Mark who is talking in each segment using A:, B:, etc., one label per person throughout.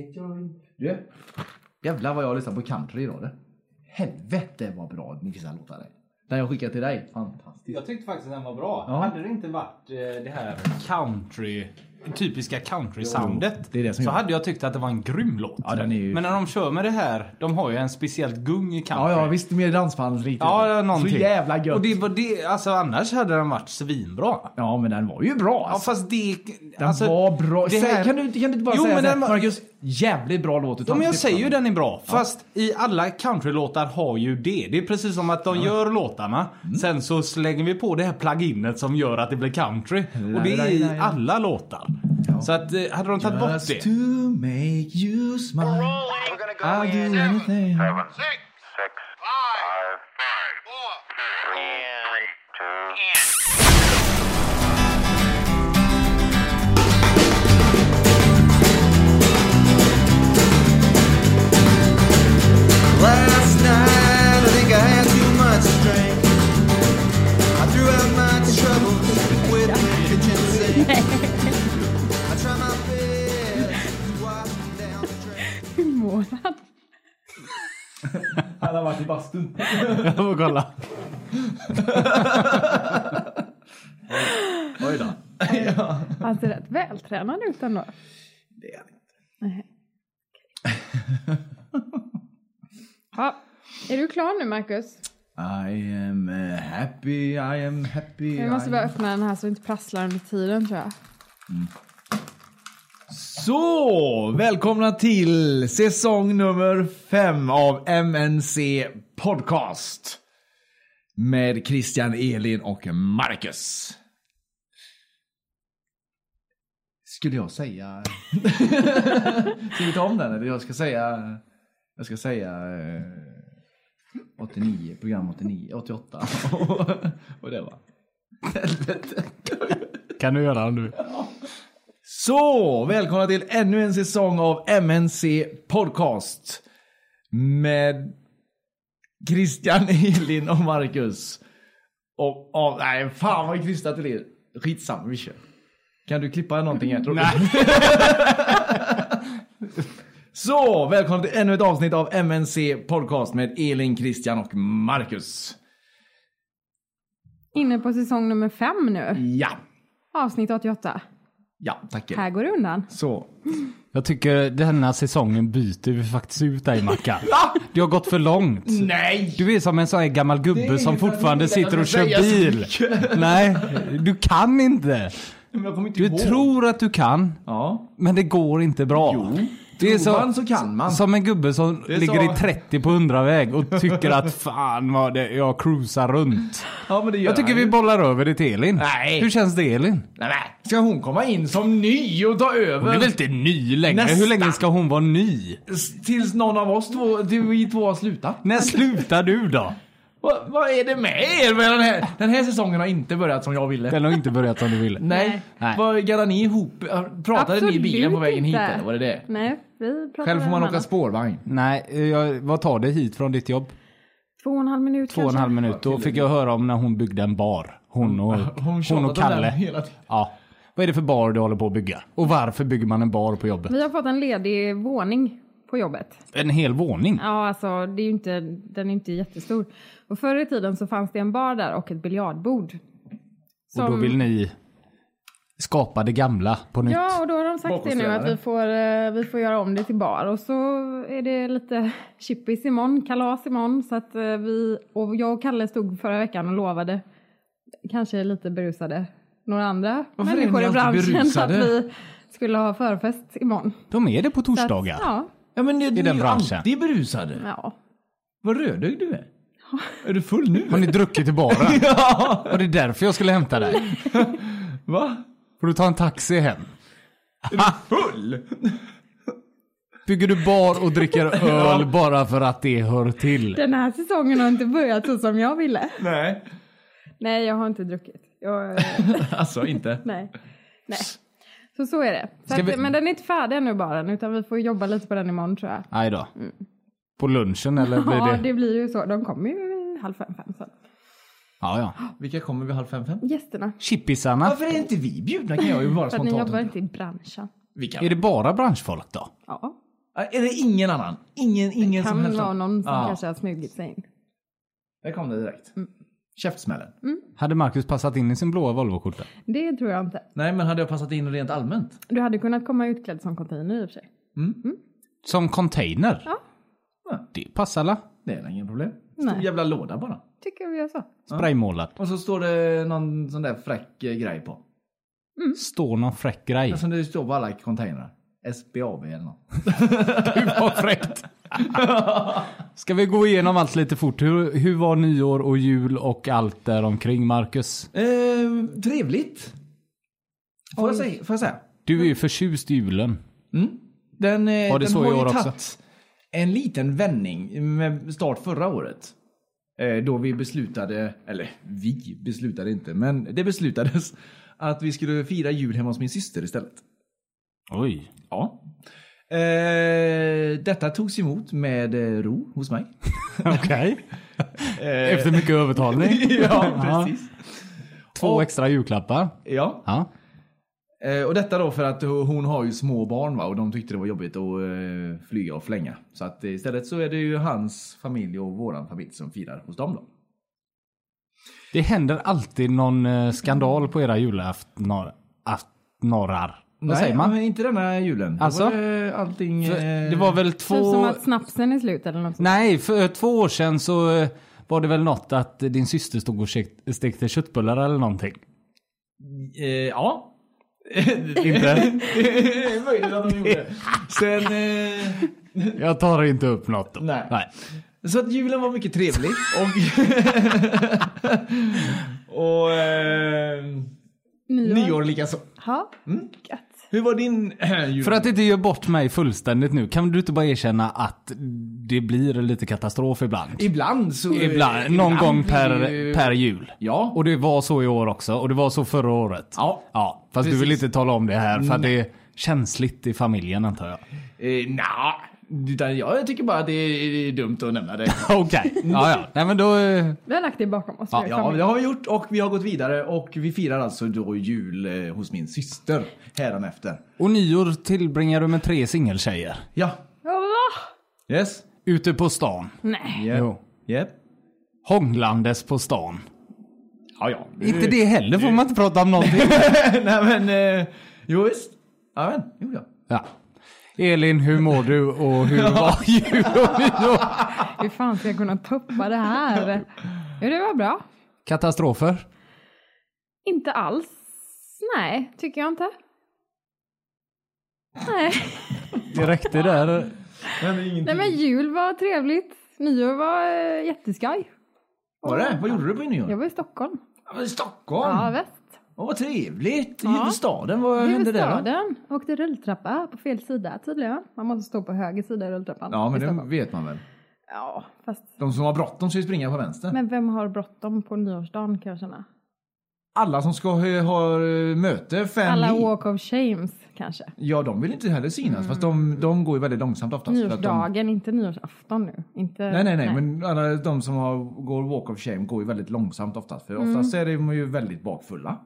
A: vet jag inte.
B: Du, jävlar vad jag lyssnar på country idag. du. Helvete vad bra vissa låtar är. Den jag skickade till dig, fantastisk.
A: Jag tyckte faktiskt att den var bra.
B: Ja.
A: Hade det inte varit eh, det här country, typiska country-soundet.
B: det är det som
A: så
B: gör det.
A: hade jag tyckt att det var en grym låt.
B: Ja, den är ju-
A: Men när de kör med det här, de har ju en speciellt gung i
B: Ja,
A: country.
B: ja visst, mer dansbandsrikt.
A: Ja, någonting.
B: Så jävla
A: Och
B: gött.
A: det var det, alltså annars hade den varit svinbra.
B: Ja, men den var ju bra
A: Ja
B: alltså.
A: fast det... alltså,
B: Den var bra.
A: det
B: Säg,
A: här-
B: kan, du, inte- kan du inte bara
A: Jo,
B: säga
A: men
B: så här,
A: den var-
B: Marcus, jävligt bra låt
A: Ja,
B: utan
A: men jag
B: tips,
A: säger ju
B: alltså."
A: den är bra. Fast i alla countrylåtar har ju det. Det är precis som att de gör låtarna. Sen så slänger vi på det här pluginet som gör att det blir country. Och det är i
B: la, la.
A: alla låtar. Så att eh, hade de tagit bort
B: Just
A: det.
B: to make you smile.
C: We're gonna go
B: I'll
C: in
B: do anything.
C: seven, six, five, five, four, three, three, two,
D: Last night, I think I had too much to drink. I threw out my troubles with the kitchen sink. I tried my best to wash them down the drain.
E: Månad.
B: Han har varit i bastun.
A: Jag får kolla.
B: Oj då.
E: Han ser rätt vältränad ut ändå.
B: Det är han inte.
E: Nej. Ja, är du klar nu Marcus?
B: I am eh, happy, I am happy.
E: Jag måste
B: I
E: bara
B: am-
E: öppna den här så det inte prasslar under tiden tror jag.
B: Så, välkomna till säsong nummer fem av MNC Podcast. Med Christian, Elin och Marcus. Skulle jag säga... ska vi ta om den eller jag ska säga... Jag ska säga... eh, 89, program 89, 88 och det var.
A: Kan du göra det nu?
B: Så, välkomna till ännu en säsong av MNC Podcast. Med Christian, Elin och Marcus. Och, och nej, fan vad krystat till er. Skitsamma, vi kör. Kan du klippa någonting här? tror du? Så, välkomna till ännu ett avsnitt av MNC Podcast med Elin, Christian och Marcus.
E: Inne på säsong nummer fem nu.
B: Ja,
E: Avsnitt 88.
B: ja,
E: Här
B: tackar.
E: går det undan.
B: Så,
A: Jag tycker denna säsongen byter vi faktiskt ut dig Mackan. Du har gått för långt.
B: nej!
A: Du är som en sån här gammal gubbe som
B: inget
A: fortfarande
B: att säga,
A: sitter och
B: men säga
A: kör
B: så
A: bil.
B: mycket.
A: Nej, du kan inte.
B: Men jag kommer inte
A: Du
B: ihåg.
A: tror att du kan,
B: Ja.
A: men det går inte bra.
B: Jo.
A: Det är
B: Tror man så kan man.
A: Som en gubbe som
B: är
A: ligger
B: så.
A: i 30 på 100-väg och tycker att fan vad det, jag cruisar runt.
B: Ja, men det gör
A: Jag tycker
B: han
A: vi
B: ju.
A: bollar över det till Elin.
B: Nej.
A: Hur känns det Elin?
B: Nej, nej. Ska hon komma in som ny och ta över?
A: Hon är väl inte ny längre?
B: Nästan.
A: Hur länge ska hon vara ny?
B: S- Tills någon av oss två, till vi två har slutat.
A: När slutar du då?
B: Va, vad är det med er? Med den, här, den här säsongen har inte börjat som jag ville.
A: Den har inte börjat som du ville.
B: Nej.
A: Nej.
B: Vad Gaddade ni ihop? Pratade ni i bilen på vägen hit
E: inte.
B: eller var det det?
E: Nej, vi pratar
B: Själv får
E: om
B: man åka
E: annat.
B: spårvagn.
A: Nej, jag, vad tar det hit från ditt jobb?
E: Två och en halv minut
A: Två och en
E: kanske.
A: halv minut. Då fick jag höra om när hon byggde en bar. Hon och, hon
B: tjatade om
A: och
B: den
A: Kalle.
B: hela tiden.
A: Ja. Vad är det för bar du håller på att bygga? Och varför bygger man en bar på jobbet?
E: Vi har fått en ledig våning på jobbet.
A: En hel våning?
E: Ja, alltså det är ju inte, den är inte jättestor. Och förr i tiden så fanns det en bar där och ett biljardbord.
A: Och då
E: Som-
A: vill ni skapa det gamla på nytt?
E: Ja, och då har de sagt det nu att vi får, eh, vi får göra om det till bar. Och så är det lite chippis imorgon, kalas imorgon. Så att eh, vi, och jag och Kalle stod förra veckan och lovade, kanske lite berusade, några andra
B: Varför är
E: människor
B: ni
E: i
B: alltid
E: branschen att
B: berusade?
E: vi skulle ha förfest imorgon.
A: De är det på
E: Så att,
A: torsdagar.
E: Ja,
B: Ja men det, du är
A: den
B: ju
A: branschen.
B: alltid berusade.
E: ja. Vad
B: Vad rödögd du är. Är du full nu?
A: Har ni druckit i baren?
B: ja.
A: Var det därför jag skulle hämta dig?
B: Va?
A: Får du ta en taxi hem?
B: Full?
A: Bygger du bar och dricker öl bara för att det hör till?
E: Den här säsongen har inte börjat så som jag ville.
B: Nej.
E: Nej, jag har inte druckit. Jag, eh,
B: Alltså inte.
E: nej. nej. Så så är det. Så
A: Ska
E: att,
A: vi-
E: Men den är inte färdig ännu baren, utan vi får jobba lite på den imorgon tror jag.
A: Nej då. På lunchen eller blir
E: Mm. Ja,
A: det...
E: det blir ju så. De kommer ju halv fem, fem sen.
A: Ja, ja.
B: Vilka kommer vid halv fem, fem?
E: Gästerna.
A: Chippisarna.
B: Varför är inte vi bjudna kan jag ju bara
E: För att ni
B: spontant
E: jobbar inte i branschen.
B: Vi kan.
A: Är det bara branschfolk då?
E: Ja.
B: Är det ingen annan? Ingen, ingen som
E: Kan
B: helst?
E: vara någon som
B: Ja.
E: kanske Mm. har smugit sig in.
B: Där kom det direkt. Käftsmällen.
A: Hade Marcus passat in i sin blåa Volvo-skjorta?
E: Det tror jag inte.
B: Nej, men hade jag passat in rent allmänt? Mm.
E: Du hade kunnat komma utklädd som container i och för sig.
A: Som container?
E: Ja.
A: Det passar la.
B: Det är väl ingen problem. Stor
E: Nej.
B: jävla låda bara.
E: Tycker vi gör så. Typ
A: Spraymålat.
B: Och så står det någon sån där fräck eh, grej på.
E: Mm.
A: Står någon fräck grej.
B: Som det står på alla containrar. SBAB eller något.
A: Vad fräckt. Ska vi gå igenom allt lite fort? Hur, hur var nyår och jul och allt där omkring, Marcus?
B: Eh, trevligt. Får jag, säga, får jag säga?
A: Du är ju förtjust i julen.
B: Den, eh,
A: Var det
B: den
A: så i
B: har ju
A: år också?
B: tagit en liten vändning med start förra året. Eh, Då vi beslutade, eller vi beslutade inte, men det beslutades att vi skulle fira jul hemma hos min syster istället.
A: Oj.
B: Ja. Eh, detta togs emot med eh, ro hos mig.
A: Okej. Eh, Efter mycket övertalning.
B: Eh, ja, precis.
A: Två extra julklappar.
B: Ja.
A: Ja.
B: Eh, och detta då för att hon har ju små barn va? och de tyckte det var jobbigt att eh, flyga och flänga. Så att eh, istället så är det ju hans familj och våran familj som firar hos dem då.
A: Det händer alltid någon eh, skandal på era julaftonar. Vad säger man?
B: men inte denna julen. Då
A: Alltså?
B: Var det allting... eh,
A: För Det var väl
E: Typ som
A: två...
E: att snapsen är slut eller något sånt.
A: Nej, för två år sedan så eh, var det väl något att eh, din syster stod och stek- stekte köttbullar eller någonting.
B: eh, ja.
A: Inte?
B: det är möjligt att de gjorde. det. Sen... Eh,
A: Jag tar inte upp något då.
B: Nej.
A: Nej.
B: så att julen var mycket trevlig. Och... och eh,
E: Nyår.
B: nyår Mm. likaså.
E: Ja. Gött.
B: Hur var din eh, jul?
A: För att inte göra bort mig fullständigt nu, kan du inte bara erkänna att det blir lite katastrof ibland?
B: Ibland så...
A: Ibland, någon gång per,
B: blir det ju-
A: per jul.
B: Ja.
A: Och det var så i år också, och det var så förra året.
B: Ja.
A: ja fast du
B: Precis.
A: vill inte tala om det här, för att det är känsligt i familjen antar jag.
B: Eh, Nja, utan jag tycker bara att det är dumt att nämna det.
A: Okej, ja, ja. Nej men då... eh,
E: Vi har lagt det bakom oss. nu,
B: Ja,
E: familj.
B: det har vi gjort och vi har gått vidare och vi firar alltså då jul eh, hos min syster hädanefter.
A: Och nyår tillbringar du med tre singeltjejer.
B: Ja.
E: Ja, va?
B: Yes.
A: Ute på stan.
E: Nej.
B: Yep.
A: Jo.
B: Yep.
A: Hånglandes på stan.
B: Ja, ja.
A: Inte det heller får man inte prata om någonting.
B: Nej, men eh, jo, visst. Ja, men jo, ja.
A: Ja. Elin, hur mår du och hur var jul och nyår?
E: Hur fan ska jag kunna toppa det här? Jo, det var bra.
A: Katastrofer?
E: Inte alls. Nej, tycker jag inte. Nej.
A: Det räckte där.
E: Nej men jul var trevligt. Nyår var eh, jätteskaj.
B: Var det? Vad gjorde du på nyår?
E: Jag var i Stockholm.
B: Ja, men Stockholm.
E: Ja, väst.
B: Åh, vad trevligt. I
E: Ja.
B: huvudstaden. Vad hände där? Då?
E: Huvudstaden. Åkte rulltrappa på fel sida tydligen. Man måste stå på höger sida i rulltrappan.
B: Ja, men
E: i
B: det
E: Stockholm.
B: vet man väl.
E: Ja, fast.
B: De som har bråttom ska ju springa på vänster.
E: Men vem har bråttom på nyårsdagen kan jag känna?
B: Alla som ska ha, ha eh, möte fem
E: Alla
B: i.
E: walk of shames kanske.
B: Ja, de vill inte heller synas. Fast de, de går ju väldigt långsamt oftast. för att De,
E: Nyårsdagen, inte nyårsafton nu. Inte,
B: nej, nej, nej, Men alla de som har, går walk of shame går ju väldigt långsamt oftast. För oftast
E: Mm.
B: är de ju väldigt bakfulla.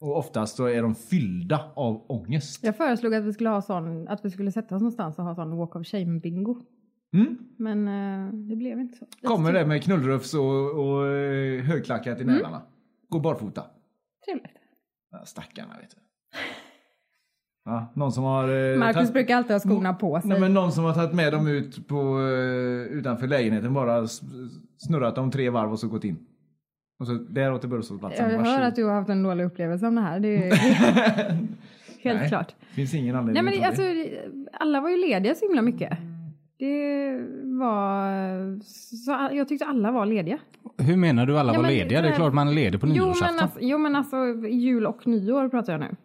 B: Och oftast så är de fyllda av ångest.
E: Jag föreslog att vi skulle ha sån, att vi skulle sätta oss någonstans och ha sån walk of shame bingo.
B: Mm.
E: Men eh, det Mm. blev inte så.
B: Kommer det med knullrufs och, och eh, högklackat i nälarna. Går barfota.
E: typ Trevligt.
B: Ja, Stackarna vet du. Ja, någon som har... eh,
E: Marcus
B: tagit-
E: brukar alltid ha skorna på sig.
B: Nej, men någon som har tagit med dem ut på, eh, utanför lägenheten bara s- snurrat dem tre varv och så gått in. Och så däråt till busshållplatsen.
E: Jag hör
B: Varsågod.
E: att du har haft en dålig upplevelse om det här. Det är helt
B: Nej.
E: klart.
B: finns ingen anledning
E: Nej, men
B: att
E: det, alltså,
B: tro
E: alla var ju lediga så himla mycket. Det var... Så, jag tyckte alla var lediga.
A: Hur menar du alla
E: Ja,
A: var
E: men
A: lediga? Det är
E: det-
A: klart man är ledig på
E: Jo men,
A: nyårsafton.
E: alltså, jo men alltså jul och nyår pratar jag nu.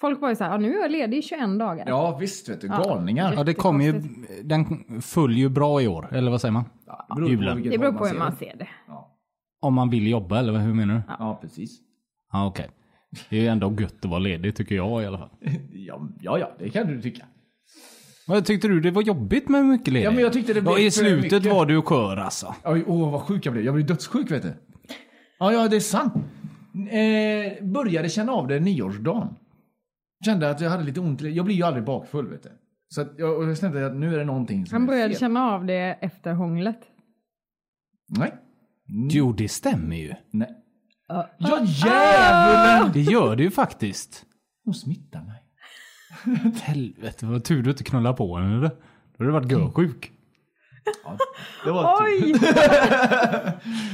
E: Folk var ju så här, ja, nu är jag ledig i 21 dagar.
B: det. Ja visst vet du, galningar.
A: Ja, det kommer ju... Den följer ju bra i år, eller vad säger man?
B: Det beror på
A: Julen.
B: vilket
E: det beror
B: håll
E: på hur man
B: ser
E: ser det.
B: det. Ja,
A: Om man vill jobba, eller hur menar du? Ja,
B: ja precis.
A: okej. Det är ju ändå gött att vara ledig, tycker jag i alla fall.
B: Ja, ja, ja, det kan du tycka.
A: Vad tyckte du? Det var jobbigt med mycket ledigt?
B: Ja, men jag tyckte det
A: Ja,
B: blev för
A: I slutet
B: mycket.
A: var du skör alltså.
B: Oj, åh vad sjuk jag blev. Jag blev dödssjuk vet du. Ja, ja det är sant. Eh, började känna av det nyårsdagen. Kände att jag hade lite ont. i- Jag blir ju aldrig bakfull vet du. Så att jag, och jag kände att nu är det någonting som
E: Han
B: är
E: började
B: fel.
E: känna av det efter hånglet.
B: Nej.
A: Jo, det stämmer ju.
B: Nej. ja
E: Ah!
B: djävulen!
A: Det gör det ju faktiskt.
B: Hon smittar mig.
A: Helvete, vad tur du inte knullar på henne eller? Då hade du varit görsjuk.
B: Det var typ
E: Oj!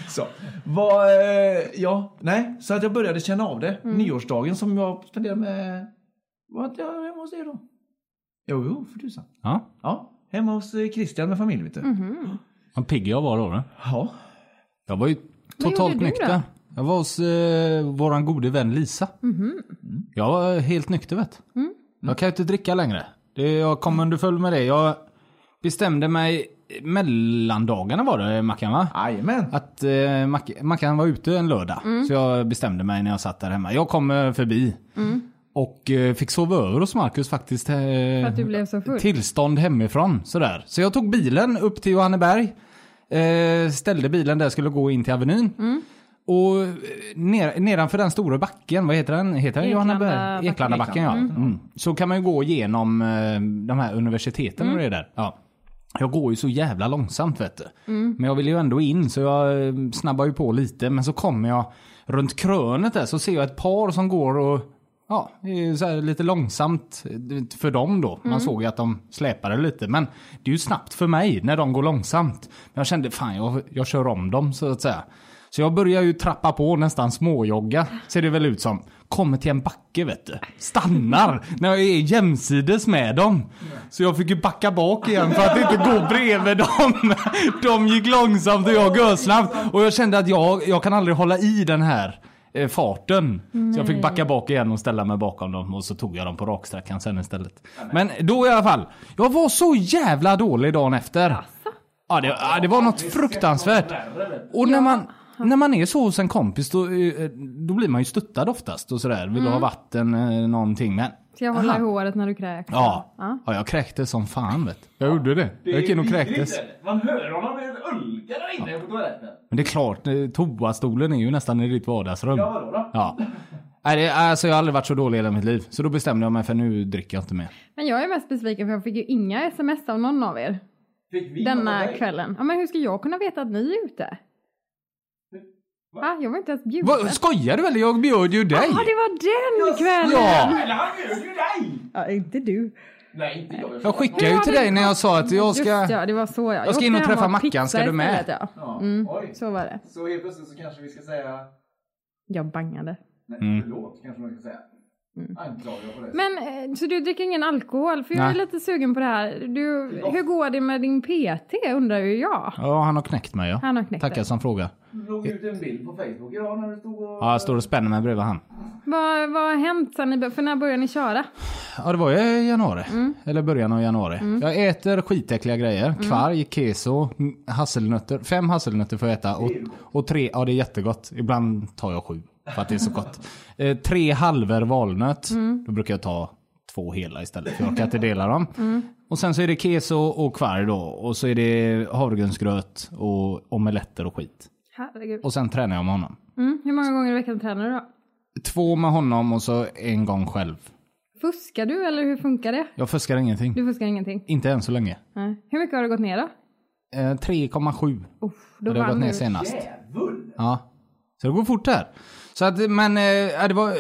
B: så. Vad, eh, ja, nej. Så att jag började känna av det.
E: Mm.
B: Nyårsdagen som jag spenderade med... Vad jag hemma hos er då? Jo, jo, för tusan.
A: Ja,
B: Ja, hemma hos eh, Christian med familj vet du.
E: Mm.
A: vad pigg jag var då. va?
B: Ja.
A: Jag var ju totalt
E: gjorde du
A: nykter. Jag var hos eh, våran gode vän Lisa.
E: Mm-hmm.
A: Mm. Jag var eh, helt nykter vet du.
E: Mm.
A: Jag kan ju inte dricka längre. Det, jag kom underfull med det. Jag bestämde mig mellandagarna var det Mackan va?
B: Jajamän.
A: Att eh, Mac- Mackan var ute en lördag.
E: Mm.
A: Så jag bestämde mig när jag satt där hemma. Jag kom eh, förbi.
E: Mm.
A: Och eh, fick sova över hos Marcus faktiskt. eh,
E: För att du blev så full.
A: Tillstånd hemifrån. Sådär. Så jag tog bilen upp till Johanneberg. Eh, ställde bilen där, skulle gå in till Avenyn.
E: Mm.
A: Och eh, ner, nedanför den stora backen, vad heter den? Heter den Johanneberg?
E: Eklandabacken.
A: Eklandabacken ja. Mm. Så kan man ju gå igenom eh, de här universiteten och det där. Ja. Jag går ju så jävla långsamt vet du. Men jag vill ju ändå in så jag eh, snabbar ju på lite. Men så kommer jag runt krönet där så ser jag ett par som går och ja, det är ju så här lite långsamt eh, för dem då. Man såg ju att de släpade lite. Men det är ju snabbt för mig när de går långsamt. Men jag kände fan jag, jag kör om dem så att säga. Så jag börjar ju trappa på nästan småjogga ser det väl ut som. Kommer till en backe vet du. Stannar när jag är jämsides med dem. Så jag fick ju backa bak igen för att inte gå bredvid dem. De gick långsamt och jag görsnabbt. Och jag kände att jag, jag kan aldrig hålla i den här eh, farten. Så jag fick backa bak igen och ställa mig bakom dem och så tog jag dem på raksträckan sen istället. Men då i alla fall. Jag var så jävla dålig dagen efter. Ja det, ja, det var något fruktansvärt. Och när man, när man är så hos en kompis då, eh, då blir man ju stöttad oftast och sådär. Vill du
E: Mm.
A: ha vatten eh, någonting men.
E: Ska jag hålla i
A: Aha.
E: håret när du kräks?
A: Ja.
E: Ja.
A: ja, jag kräktes som fan vet Jag gjorde det. Jag gick in och kräktes.
B: Man hör honom ulka där inne på toaletten.
A: Men det är klart, eh, toastolen är ju nästan i ditt vardagsrum.
B: vadå då?
A: Ja. Nej, det, alltså jag har aldrig varit så dålig i hela mitt liv. Så då bestämde jag mig för nu dricker jag inte mer.
E: Men jag är mest besviken för jag fick ju inga sms av någon av er
B: Fick vi
E: denna kvällen. Ja, men hur ska jag kunna veta att ni är ute? Va? Jag var inte ens bjuden.
A: Vad, skojar du eller? Jag bjöd ju dig!
E: Ja, det var den kvällen!
A: Ja!
B: Eller han bjöd ju dig!
E: Ja, inte du.
B: Nej, inte jag.
A: Jag skickade ju till dig när jag sa att jag ska...
E: Just ja, det var så jag.
A: Jag ska in
E: åkte
A: och
E: hem
A: träffa
E: åt
A: Mackan,
E: pizza
A: ska du med?
E: istället, Ja.
B: Ja,
E: Mm,
B: oj.
E: så var det.
B: Så helt plötsligt så kanske vi ska säga...
E: Jag bangade.
B: Nej, förlåt kanske man ska säga. Anklagar på det.
E: Mm. Men eh, så du dricker ingen alkohol? För jag är
A: Nej.
E: lite sugen på det här. Du, hur går det med din PT undrar ju jag.
A: Ja, han har knäckt mig ja.
E: Han har knäckt
A: Tackar
E: dig.
A: som frågar.
B: Du låg ut en bild på Facebook idag när du stod och...
A: Ja, jag står och spänner mig bredvid han.
E: Vad, vad har hänt sen ni bör- För när började ni köra?
A: Ja, det var ju i januari. Eller början av januari. Jag äter skitäckliga grejer. Kvarg, keso, m- hasselnötter. Fem hasselnötter får jag äta. Och, och tre, ja det är jättegott. Ibland tar jag sju. För att det är så gott. Eh, tre halvor valnöt. Då brukar jag ta två hela istället. För jag orkar inte dela dem. Och sen så är det keso och kvarg då. Och så är det havregrynsgröt och omeletter och skit.
E: Herregud.
A: Och sen tränar jag med honom.
E: Mm, hur många gånger i veckan tränar du då?
A: Två med honom och så en gång själv.
E: Fuskar du eller hur funkar det?
A: Jag fuskar ingenting.
E: Du fuskar ingenting?
A: Inte än så länge.
E: Nej. Hur mycket har du gått ner då?
A: Eh, 3,7
E: Uff, då
A: har det har
E: vann
A: gått ner
E: du.
A: senast.
B: Djävul!
A: Ja. Så det går fort här. Så att, men eh, ja, det var... eh,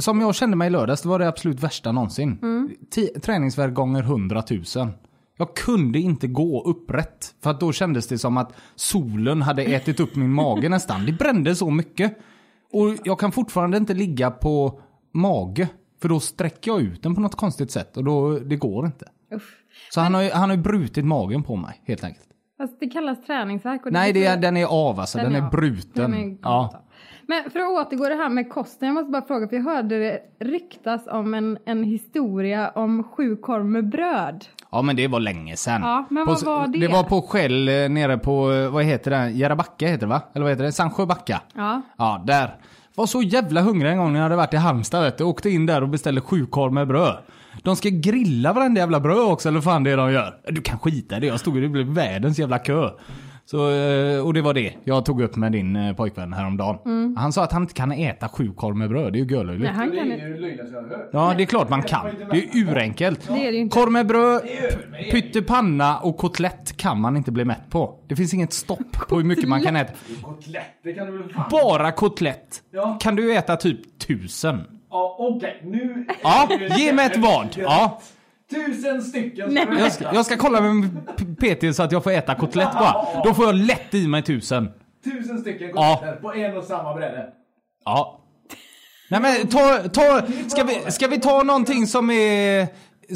A: Som jag kände mig i lördags, det var det absolut värsta någonsin.
E: Mm.
A: Ti- Träningsvärk gånger 100 000. Jag kunde inte gå upprätt. För att då kändes det som att solen hade ätit upp min mage nästan. Det brände så mycket. Och jag kan fortfarande inte ligga på mage. För då sträcker jag ut den på något konstigt sätt och då, det går inte.
E: Uff.
A: Så han har ju han har ju brutit magen på mig helt enkelt.
E: Fast det kallas träningsvärk. och
A: Nej, det
E: betyder-
A: är, den är av alltså. Den, är
E: av.
A: bruten.
E: Den är- alltså.
A: ja.
E: Men för att återgå det här med kosten, jag måste bara fråga, för jag hörde det ryktas om en, en historia om sju korv med bröd.
A: ja, men det var länge sedan.
E: Ja, men
A: på,
E: vad var det?
A: Det var på Skäll eh, nere på, eh, vad heter den? Järabacka heter det va? Eller vad heter det? Sandsjöbacka.
E: Ja.
A: Ja, där. Var så jävla hungrig en gång när jag hade varit i Halmstad vet du. Åkte in där och beställde sju korv med bröd. De ska grilla varenda jävla bröd också eller vad fan det är de gör. Du kan skita i det. Jag stod ju, det blev världens jävla kö. Så, eh, och det var det jag tog upp med din eh, pojkvän häromdagen. Han sa att han inte kan äta sju korv med bröd. Det är ju görlöjligt.
E: Mm. Nej, han kan inte.
A: Ja, det är klart man kan. Det är ju urenkelt.
E: Det är det ju inte.
A: Korv med bröd, p- pyttipanna och kotlett kan man inte bli mätt på. Det finns inget stopp på hur mycket man kan äta.
B: Kotlett, det kan du väl fan...
A: Bara kotlett
B: Ja.
A: kan du äta typ tusen.
B: Ja, okej, nu...
A: Ja, ge mig ett vad. Ja,
B: Tusen stycken
E: Nej.
B: ska
A: jag, ska, jag ska kolla med P- PT så att jag får äta kotlett bara. Då får jag lätt i mig tusen.
B: Tusen stycken
A: Ja.
B: kotletter på en och samma bräda.
A: Ja. Nej men ta, ta, ska vi, ska vi ta någonting som är,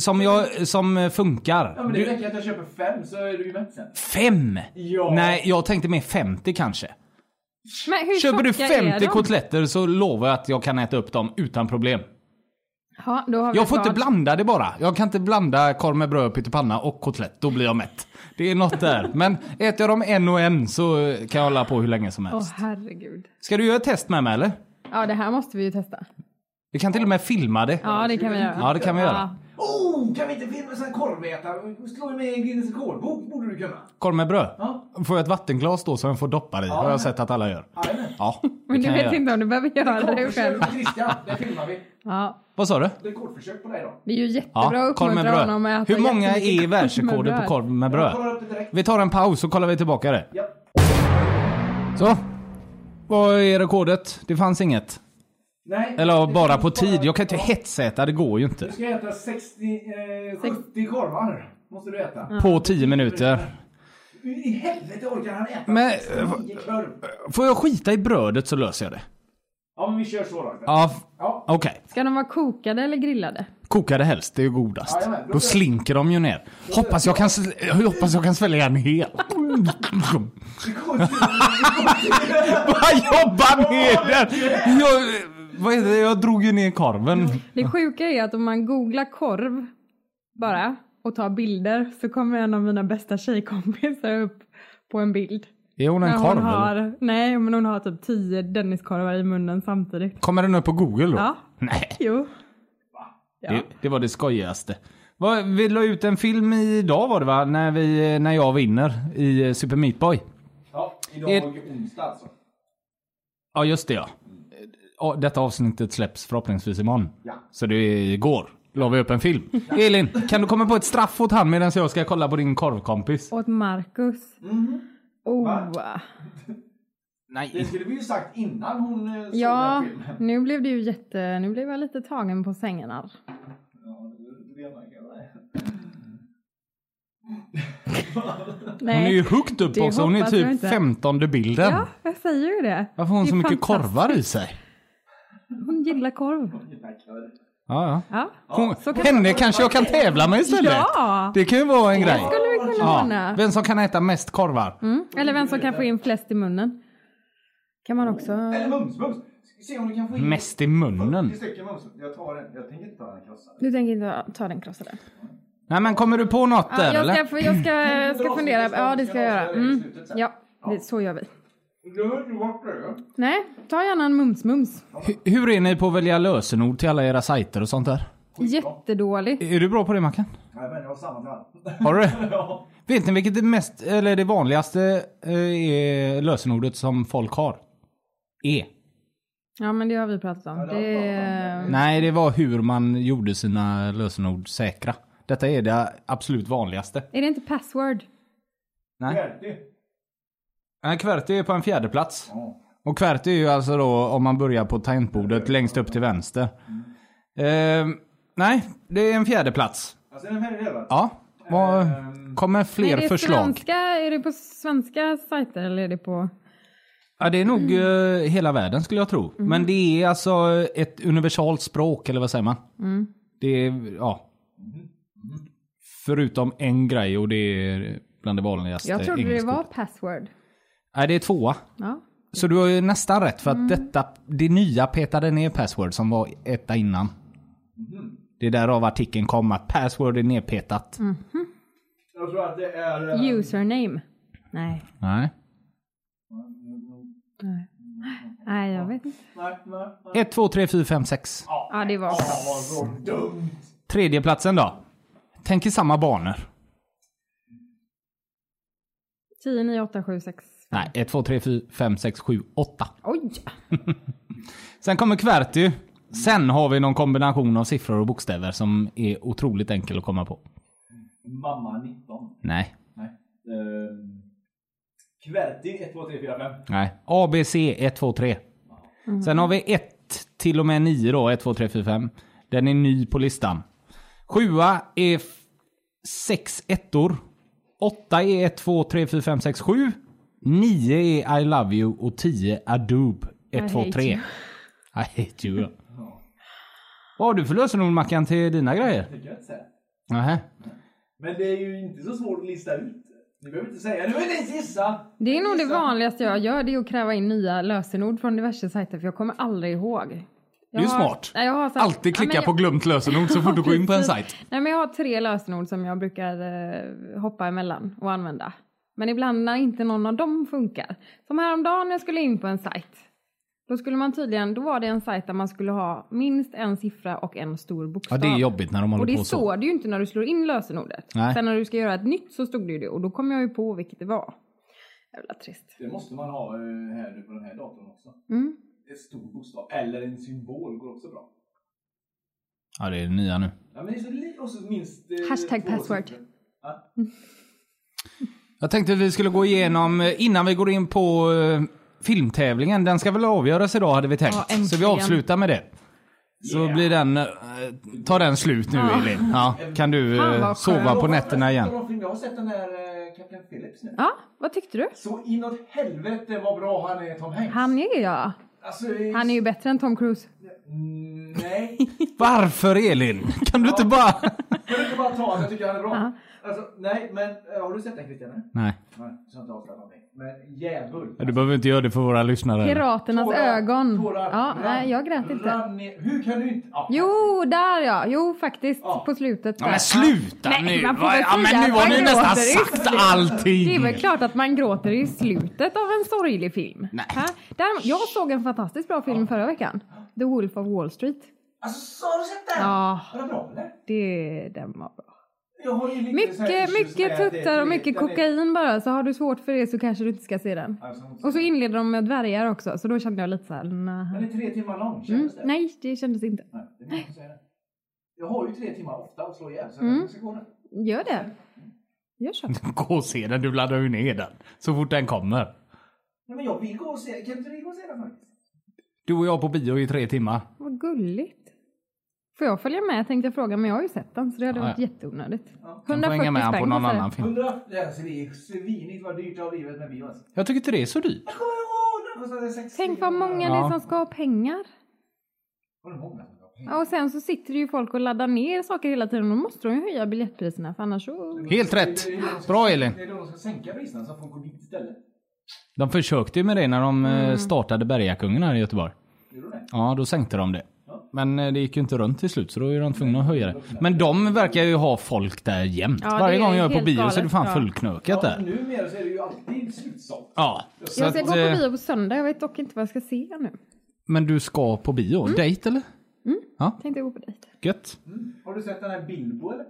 A: som jag, som
B: Ja,
A: funkar?
B: men det
A: Du,
B: räcker att jag köper fem så är du ju mätt sen.
A: fem?
B: Ja.
A: Nej, jag tänkte mer 50 kanske.
E: Men hur
A: Köper du
E: tjocka
A: 50
E: är de?
A: kotletter så lovar jag att jag kan äta upp dem utan problem.
E: Ja, då har vi
A: Jag får
E: ett
A: inte
E: val.
A: blanda det bara. Jag kan inte blanda korv med bröd, pyttipanna och kotlett. Då blir jag mätt. Det är något där. Men äter jag dem en och en så kan jag hålla på hur länge som
E: Åh
A: helst.
E: herregud.
A: Ska du göra ett test med mig eller?
E: Ja, det här måste vi ju testa.
A: Vi kan till och med filma det.
E: Ja, det kan vi göra.
A: Ja, det kan vi göra.
E: Ja.
B: Oh, kan vi inte filma sån här korvätare? Slå med en Guinness rekordbok borde du kunna.
A: Korv med bröd?
B: Ja.
A: Får jag ett vattenglas då som jag får doppa i? har jag sett att alla gör.
B: Jajamän.
A: Ja, det
E: Men
A: kan
E: du
A: jag
E: vet
A: göra.
E: inte om du behöver göra det själv.
B: Rekordförsök med Christian, det filmar vi.
E: Ja,
A: Vad sa du?
B: Rekordförsök på dig då.
E: det är ju jättebra att
A: Ja, korv med
E: uppmuntra honom att
A: bröd.
E: äta
A: Hur många
E: jättemycket
A: är världsrekordet på korv med
B: Jag kollar
A: bröd?
B: upp det direkt.
A: Vi tar en paus så kollar vi tillbaka det.
B: Ja.
A: Så. Vad är rekordet? Det fanns inget.
B: Nej.
A: Eller
B: det
A: bara
B: finns
A: på tid. Jag kan inte
B: Ja.
A: hetsäta, det går ju
B: Du
A: inte.
B: ska äta 60, eh, 70 korvar. Måste du äta.
A: På 10 minuter.
B: Hur i helvete orkar han äta
A: Men, eh,
B: 69 korv?
A: Får jag skita i brödet så löser jag det.
B: Ja men vi kör så då.
A: Ja, f-
B: Ja.
A: okej.
E: Ska de vara kokade eller grillade?
A: Kokade helst, det är ju godast.
B: Jajamän, då-
A: Då slinker de ju ner. Hoppas jag kan, sl- jag hoppas jag kan svälja en hel. Vad jobbar med den? Jag, vad är det? jag drog ju ner korven.
E: Det sjuka är att om man googlar korv bara och tar bilder så kommer en av mina bästa tjejkompisar upp på en bild.
A: Är hon en
E: När
A: korv?
E: hon
A: eller?
E: har, nej, men hon har typ tio Denniskorvar i munnen samtidigt.
A: Kommer den upp på Google då?
E: Ja.
A: Nej,
E: Jo.
A: det, det var det skojigaste. Vad- Vi la ut en film idag var det va? När, vi, när jag vinner i eh, Super Meat Boy.
B: Ja, idag
A: Är-
B: är det onsdag alltså.
A: Ja, just det ja. Ja, Detta avsnittet släpps förhoppningsvis imorgon.
B: Ja.
A: Så det är igår. La vi upp en film. Elin, kan du komma på ett straff åt han medan jag ska kolla på din korvkompis?
E: Åt Marcus.
A: Mm-hmm.
E: Oh.
B: Det
A: Nej.
B: skulle vi ju sagt innan hon eh, såg
E: Ja,
B: den här filmen.
E: nu blev det ju jätte... Nu blev jag lite tagen på sängen här.
A: Hon är ju
E: Nej.
A: högt upp
E: Det
A: också. Hon är
E: hoppas jag
A: typ
E: inte.
A: femtonde bilden.
E: Ja, jag säger ju det.
A: Varför har hon
E: Det är
A: så mycket
E: fantastiskt.
A: korvar i sig?
E: Hon gillar korv.
A: Ja, ja.
E: Ja.
A: Hon,
E: så kan-
A: henne kanske jag kan tävla med istället.
E: Ja!
A: Det kan ju vara en grej.
E: skulle vi kunna ordna.
A: Vem som kan äta mest korvar.
E: Mm. Eller vem som kan få in flest i munnen. Kan man också...
B: Eller mums, mums. Ska se om du kan få in...
E: Mm.
A: Mest i
B: 40
A: munnen.
B: stycken mums. Jag tar den. Jag tänker inte ta den krossade.
E: Du tänker inte ta den krossade?
A: Nej men kommer du på något
E: Ja,
A: där
E: jag
A: eller?
E: ska, jag ska, jag ska fundera. Ja, det ska jag göra. Mm. Ja, det, så gör vi.
B: Du har inte varit där
E: Nej, ta gärna en mums-mums.
A: Hu- Hur är ni på att välja lösenord till alla era sajter och sånt där?
E: Jättedålig.
A: Är du bra på det Mackan?
B: Nej men jag har samma till alla.
A: Har du det? Vet ni vilket det mest, eller det vanligaste eh, är lösenordet som folk har? E.
E: Ja, men det har vi pratat om. Det är...
A: Nej, det var hur man gjorde sina lösenord säkra. Detta är det absolut vanligaste.
E: Är det inte password?
B: Hjärtligt.
A: Nej, Qwerty är på en fjärde plats. Och Qwerty är ju alltså då om man börjar på tangentbordet längst upp till vänster. Ehm, nej, det är en fjärde plats.
B: Alltså den här är det va?
A: Ja. Vad,
B: Ehm.
A: kommer fler
E: Nej, det är
A: förslag?
E: Svenska, är det på svenska sajter eller är det på...
A: Ja, det är nog
E: Mm.
A: eh, hela världen skulle jag tro. Men det är alltså ett universalt språk, eller vad säger man?
E: Mm.
A: Det är, ja. Förutom en grej och det är bland det vanligaste.
E: Jag trodde det
A: engelska
E: var
A: ordet.
E: password.
A: Nej, det är tvåa.
E: Ja.
A: Så du har ju nästan rätt
E: Mm.
A: för att detta, det nya petade ner password som var etta innan. Det är därav artikeln kom att password är nedpetat.
E: Mm.
B: Jag tror att det är... eh,
E: Username. Nej.
A: Nej.
E: Nej, jag vet inte.
B: Nej, nej, nej.
A: 1, 2, 3, 4, 5, 6.
E: Ja, det var...
B: Vad så dumt.
A: Tredjeplatsen då? Tänk i samma banor.
E: 10, 9, 8, 7, 6.
A: Nej, 1, 2, 3, 4, 5, 6, 7, 8.
E: Oj!
A: Sen kommer kvarty. Sen har vi någon kombination av siffror och bokstäver som är otroligt enkel att komma på.
F: Mamma 19.
A: Nej.
F: Nej.
B: Eh,
F: Kverti 1, 2, 3, 4, 5.
A: Nej. A, B, C, 1, 2, 3. Sen har vi 1 till och med 9 då, 1, 2, 3, 4, 5. Den är ny på listan. 7 är f- sex ettor. 8 är 1, 2, 3, 4, 5, 6, 7. 9 är I love you och 10 Adobe
E: I
A: 1, 2,
E: hate
A: 3. I
E: you.
A: hate you. ja. Vad har du för lösenord Mackan till dina grejer?
F: Det kan jag inte säga.
A: Nähä.
F: Men det är ju inte så svårt att lista ut. Ni behöver inte säga. Nu vill ni gissa!
E: Det är nog det
F: Gissa.
E: vanligaste jag gör, det är att kräva in nya lösenord från diverse sajter för jag kommer aldrig ihåg.
A: Det är ju smart.
E: Nej, jag har så här-
A: Alltid
E: Ja, men
A: klicka
E: jag-
A: på glömt lösenord så fort du går in på en
E: Precis.
A: sajt.
E: Nej, men jag har tre lösenord som jag brukar eh, hoppa emellan och använda. Men ibland när inte någon av dem funkar. Som häromdagen när jag skulle in på en sajt. Då skulle man tydligen, då var det en sajt där man skulle ha minst en siffra och en stor
A: Ja,
E: bokstav.
A: det är jobbigt när de
E: Och
A: håller
E: det
A: på så.
E: står det ju inte när du slår in lösenordet.
A: Nej.
E: Sen när du ska göra ett nytt så stod det ju det och då kom jag ju på vilket det var. Jävla trist.
F: Det måste man ha eh, här nu på den här datorn också.
E: Mm.
F: En stor bokstav. Eller en symbol går också bra.
A: Ja, det är det nya nu.
F: Ja, men det är så lite och så minst... eh,
E: Hashtag
F: två
E: password.
F: siffror. Ja.
A: Jag tänkte att vi skulle gå igenom, eh, innan vi går in på eh, filmtävlingen, den ska väl avgöras idag hade vi tänkt.
E: Ja, äntligen.
A: så vi avslutar med det. Så
F: Yeah.
A: blir den, eh, tar den slut nu
E: Ja.
A: Elin. Ja, kan du
E: Fan,
A: eh,
E: vad
A: sova
E: skönt.
A: på nätterna igen.
F: Jag har sett den där eh, Kapten Phillips nu.
E: Ja, vad tyckte du?
F: Så inåt helvete vad bra han är Tom Hanks.
E: Han är ja.
F: Alltså, eh,
E: Han är ju bättre än Tom Cruise.
F: mm, Nej.
A: Varför Elin? Kan du inte bara...
F: Jag vill inte bara ta att jag tycker han är bra.
E: Ja.
F: Alltså, nej, men eh, har du sett den Christian? eller?
A: Nej,
F: Nej, så jag inte avslöjar någonting. Men djävul.
A: du behöver inte göra det för våra lyssnare.
E: Piraternas
F: Tårar,
E: ögon. ja,
F: tårar, rann-
E: nej, jag grät inte.
F: rann ner. Hur kan du inte? Ja.
E: Jo, där ja. Jo, faktiskt.
F: Ja.
E: På slutet.
A: Ja,
E: där.
A: men sluta
E: Nej,
A: nu!
E: man får
A: Va-
E: väl
A: ja, men
E: säga
A: nu
E: att
A: har
E: man
A: ni
E: gråter
A: nästan
E: i
A: sagt
E: slutet.
A: allting!
E: Det är väl klart att man gråter i slutet av en sorglig film. Nej. Där, jag såg en fantastiskt bra film förra veckan. The Wolf of Wall Street.
F: Alltså, så har du sett den?
E: Ja.
F: Var den bra eller?
E: Det, den var bra.
F: Jag har ju lite så här
E: Mycket,
F: issues med
E: mycket
F: att det är
E: tuttar och
F: tre-
E: mycket
F: den är-
E: kokain bara. Så har du svårt för det så kanske du inte ska se den.
F: Alltså, hon-
E: Och så inleder de med dvärgar också. Så då kände jag lite så här.
F: Den
E: Nej,
F: är tre timmar lång,
E: mm,
F: kändes det?
E: nej det kändes inte.
F: Nej, det är många som säger det. Jag har ju tre timmar ofta att slå ihjäl, så
E: Mm.
F: jag ska gå nu.
E: Gör det. Gör så.
A: Gå och se den, du laddar ju ner den. Så fort den kommer.
F: Nej, men jag vill gå och se. Kan inte vi gå och se den faktiskt?
A: Du och jag på bio i tre timmar.
E: Vad gulligt. Får jag följa med tänkte jag fråga, men jag har ju sett den så det hade
A: Ja,
E: varit
A: ja.
E: jätteonödigt.
A: Kan få hänga med han på någon
E: kostar det.
A: annan film.
F: Hundra? Det här ser det är svinigt vad dyrt det har blivit med bio alltså.
A: Jag tycker inte det är så dyrt.
F: Jag kommer ihåg! Den kostade 60
E: Tänk vad många det
A: Ja.
E: är som ska ha pengar.
F: Var det många som gav pengar?
E: Ja, Och sen så sitter det ju folk och laddar ner saker hela tiden. Då måste de ju höja biljettpriserna för annars så...
A: Helt rätt. Bra Elin.
F: Det är då de ska sänka priserna så folk går dit istället.
A: De försökte ju med det när de
E: Mm.
A: eh, startade Bergakungen här i Göteborg.
F: Gjorde de det?
A: Ja, då sänkte de det. Men eh, det gick ju inte runt till slut så då är de tvungna att höja det. Men de verkar ju ha folk där jämt.
E: Ja, det
A: Varje
E: är
A: gång jag är på
E: helt
A: bio så är det
E: galet,
A: fan
E: ja.
A: fullknökat
F: Ja,
A: där.
F: numera så är det ju alltid slutsålt.
A: Ja, så
E: Jag ska
A: att,
E: gå på
A: eh,
E: bio på söndag. Jag vet dock inte vad jag ska se nu.
A: men du ska på bio?
E: Mm.
A: Dejt eller?
E: Tänkte gå på dejt.
A: Gött.
F: Har du sett den här Bilbo eller?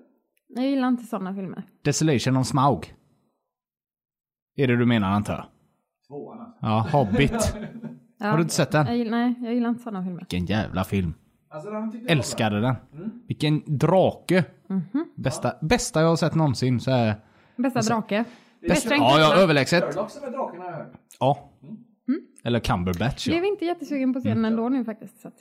E: Jag gillar inte sådana filmer.
A: Desolation of Smaug. Är det du menar antar jag?
F: Tvåan alltså.
A: Ja, Hobbit.
E: Ja,
A: Har du inte sett den?
E: Jag gillar, nej, jag gillar inte sådana filmer.
A: Vilken jävla film.
F: alltså den tyckte jag var bra.
A: Älskade den.
F: Mm.
A: Vilken drake.
E: Mhm.
A: Bästa, bästa jag har sett någonsin. Så här.
E: Bästa drake.
A: Alltså, Bästa,
E: Bästa
A: ja, ja,
E: ja,
A: överlägset.
F: Sherlock som är draken har jag hört.
A: Ja.
E: Mm.
A: Eller Cumberbatch ja.
E: Blev inte jättesugen på att se
A: Mm.
E: den ändå nu faktiskt. Så att.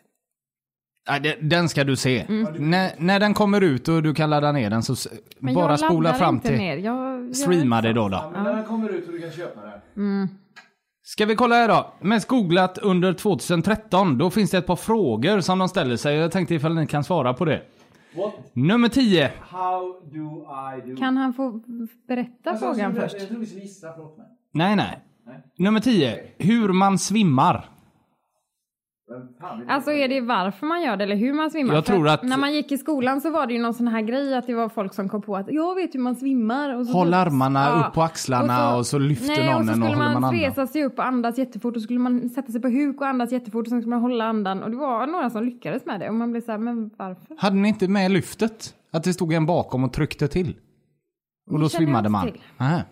A: Nej, det- Den ska du se.
E: Mm.
A: När, när den kommer ut och du kan ladda ner den så s-
E: Men
A: bara
E: jag
A: spola
E: laddar
A: fram
E: inte
A: till
E: ner. Jag, Mm. jag
A: streama det då,
F: Ja,
A: då.
F: men när den kommer ut så du kan köpa den.
A: Ska vi kolla här då? Mest googlat under 2013. Då finns det ett par frågor som de ställer sig. Jag tänkte ifall ni kan svara på det.
F: What?
A: Nummer 10.
F: How do I do?
E: Kan han få berätta
F: Alltså,
E: frågan
F: jag-
E: först?
F: Jag tror vi ska gissa, förlåt mig.
A: Nej, nej.
F: Nej.
A: Nummer 10. Hur man svimmar.
F: Men fan, vi-
E: Alltså är det varför man gör det eller hur man svimmar?
A: Jag
E: För
A: tror att-
E: När man gick i skolan så var det ju någon sån här grej att det var folk som kom på att jag vet hur man svimmar. Och så
A: Håll
E: typ-
A: armarna upp på axlarna och så lyfter
E: nej,
A: någon
E: och så
A: en och
E: skulle
A: håller man
E: man
A: andan.
E: resa sig upp och andas jättefort och så skulle man sätta sig på huk och andas jättefort och sen skulle man hålla andan. Och det var några som lyckades med det och man blev så här, men varför?
A: Hade ni inte med lyftet? Att det stod en bakom och tryckte till? Och
E: Det
A: då
E: känner jag
A: svimmade
E: inte
A: man?
E: till.
A: Nähä.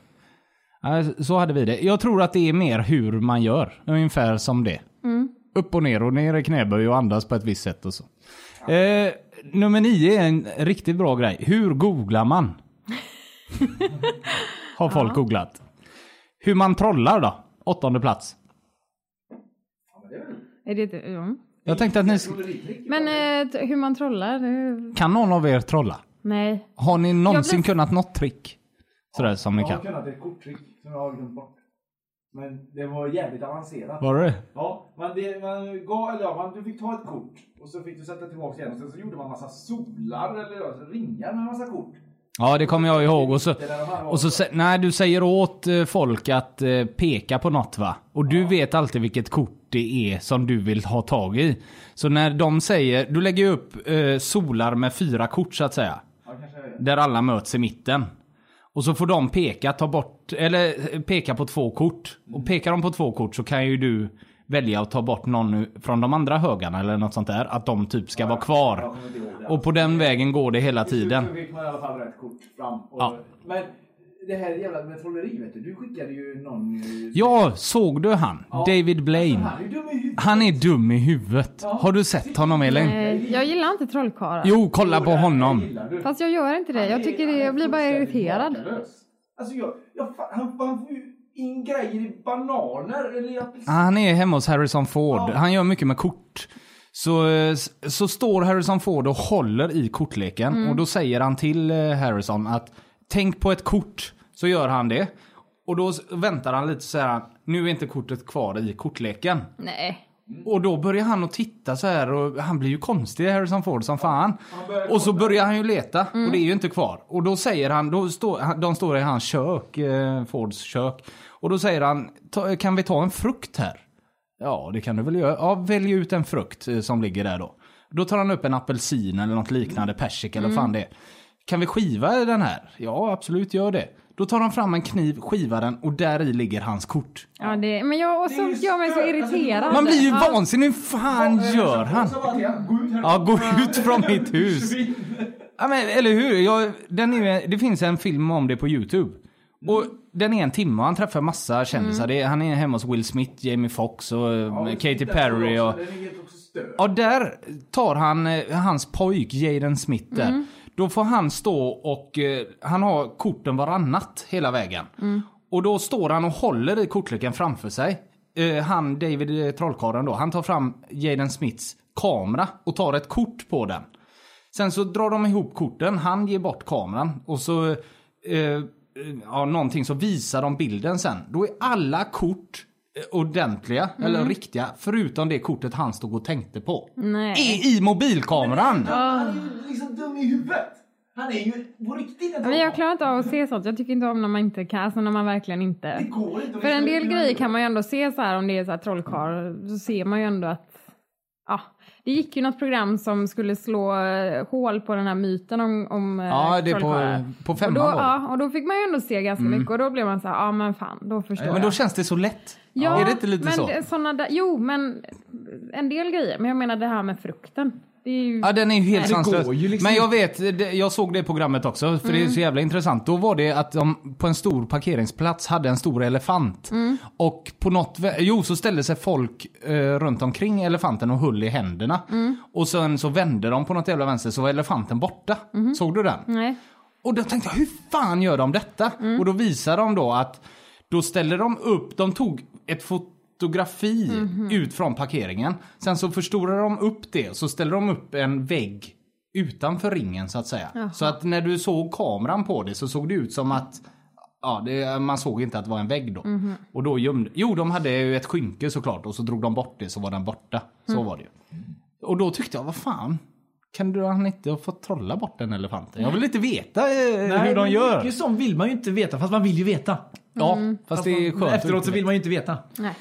A: Ja, Så hade vi det. Jag tror att det är mer hur man gör. Ungefär som det.
E: Mm.
A: Upp och ner och ner i knäböj och andas på ett visst sätt och så. Eh, nummer nio är en riktigt bra grej. Hur googlar man? Har folk googlat. Hur man trollar då? Åttonde plats.
E: Är det, inte- ja.
A: Jag tänkte att ni... sk-
E: Men eh, t- hur man trollar? hur-
A: Kan någon av er trolla?
E: Nej.
A: Har ni någonsin
E: Jag blir-
A: kunnat något trick? Sådär som ni kan.
B: kunnat ett korttrick som jag har glömt bort. Men det var jävligt avancerat.
A: Var det
B: Ja, man, det, man, gav, eller ja, man, du fick ta ett kort och så fick du sätta tillbaka igen och sen så gjorde man massa solar eller ja, ringar med massa kort.
A: Ja, det kommer jag ihåg. Och så, och så sä- nej, du säger åt eh, folk att eh, peka på något va? Och du vet alltid vilket kort det är som du vill ha tag i. Så när de säger, du lägger ju upp eh, solar med fyra kort så att säga. Där alla möts i mitten. Och så får de peka, ta bort, eller eh, peka på två kort. Och pekar de på två kort så kan ju du välja att ta bort någon nu- från de andra högarna eller något sånt där. Att de typ ska vara kvar. Och på den vägen går det hela tiden.
B: Så fick man i alla fall rätt kort fram. Och,
A: Ja.
B: Men det här jävla med trolleri vet du, du skickade ju någon... eh,
A: Ja, såg du han? David Blaine.
B: Han är ju dum i huvudet.
A: Han är dum i huvudet. Har du sett honom Elin?
E: Nej. Eh, Jag gillar inte trollkarlar.
A: Jo, kolla på honom.
B: Gillar du?
E: Fast jag gör inte det. Eh, Jag tycker det, jag blir bara irriterad.
B: Alltså jag, jag fa- han, han får ju in grejer i bananer eller apelsiner.
A: Han är hemma hos Harrison Ford. Han gör mycket med kort. Så, eh, så står Harrison Ford och håller i kortleken och då säger han till eh, Harrison att tänk på ett kort. Så gör han det. Och då s- väntar han lite så här. Nu är inte kortet kvar i kortleken.
E: Nej.
A: Och då börjar han att titta så här och han blir ju konstig Harrison Ford som fan. Och så börjar han ju leta
E: Mm.
A: och det är ju inte kvar. Och då säger han, då står, han- de står i hans kök, eh, Fords kök. Och då säger han, "Ta- kan vi ta en frukt här? Ja det kan du väl göra. Ja välj ut en frukt eh, som ligger där då. Då tar han upp en apelsin eller något liknande, persika eller vad
E: Mm.
A: fan det är. Kan vi skiva den här? Ja absolut gör det. Då tar han fram en kniv, skivar den och där i ligger hans kort.
E: Ja, det, men jag, och så
B: Det är ju
E: gör mig så
B: stört.
E: irriterad.
A: Man blir ju
E: Ja.
A: vansinnig. Hur fan gör han?
B: Så bara till han, gå ut här.
A: Ja, gå ut från mitt hus. Ja, men, eller hur? Jag, den är, ju- det finns en film om det på Youtube. Och den är en timme och han träffar massa kändisar. Det, han är hemma hos Will Smith, Jamie Foxx och eh, Katy Perry. Och,
B: Den är helt också störd.
A: ja, där tar han eh, hans pojk Jaden Smith där. Då får han stå och eh, han har korten varannat hela vägen. Och då står han och håller i kortleken framför sig. Eh, han, David eh, Trollkarlen då, han tar fram Jaden Smiths kamera och tar ett kort på den. Sen så drar de ihop korten, han ger bort kameran och så eh, eh, ja, någonting så visar de bilden sen. Då är alla kort eh, ordentliga
E: Mm.
A: eller riktiga förutom det kortet han stod och tänkte på.
E: Nej.
A: I, i mobilkameran!
B: Han är ju liksom dum i huvudet. Han är ju på riktigt en
E: Men
B: trollkarl.
E: jag klarar inte av att se sånt. Jag tycker inte om när man inte kan, alltså när man verkligen inte...
B: Det går inte.
E: För en del grejer kan man ju ändå se så här om det är så här trollkarl så ser man ju ändå att ja, det gick ju något program som skulle slå eh, hål på den här myten om, om eh,
A: Ja, det är på,
E: trollkarlar.
A: på
E: och
A: femman
E: då,
A: var det.
E: ja, och då fick man ju ändå se ganska mycket och då blev man så här, ja men fan, då förstår
A: Ja, Men då
E: jag.
A: känns det så lätt.
E: Ja,
A: är det inte lite
E: men
A: så?
E: det- såna där, jo, men en del grejer. Men jag menar det här med frukten. Det är ju,
A: Ja den är ju helt
E: Nej.
A: sanslös.
B: går ju liksom
A: Men jag vet, det- jag såg det programmet också för det är så jävla intressant. Då var det att de på en stor parkeringsplats hade en stor elefant. Och på något, vä- jo så ställde sig folk eh, runt omkring elefanten och höll i händerna. Och sen så vände de på något jävla vänster så var elefanten borta. Såg du den?
E: Nej.
A: Och då tänkte jag, hur fan gör de detta? Och då visar de då att då ställer de upp, de tog ett fotografi ut från parkeringen. Sen så förstorar de upp det och så ställer de upp en vägg utanför ringen så att säga. Så att när du såg kameran på det så såg det ut som att Ja, det, man såg inte att det var en vägg då. Och då gömde... Jo, de hade ju ett skynke såklart och så drog de bort det så var den borta. Så var det ju. Och då tyckte jag, vad fan. Kan du han inte ha fått trolla bort den elefanten? Jag vill inte veta eh, hur de gör.
B: Mycket sånt vill man ju inte veta, fast man vill ju veta.
A: Ja, fast det är
B: Man-
A: skönt.
B: Efteråt så vill man ju inte veta.
E: nej.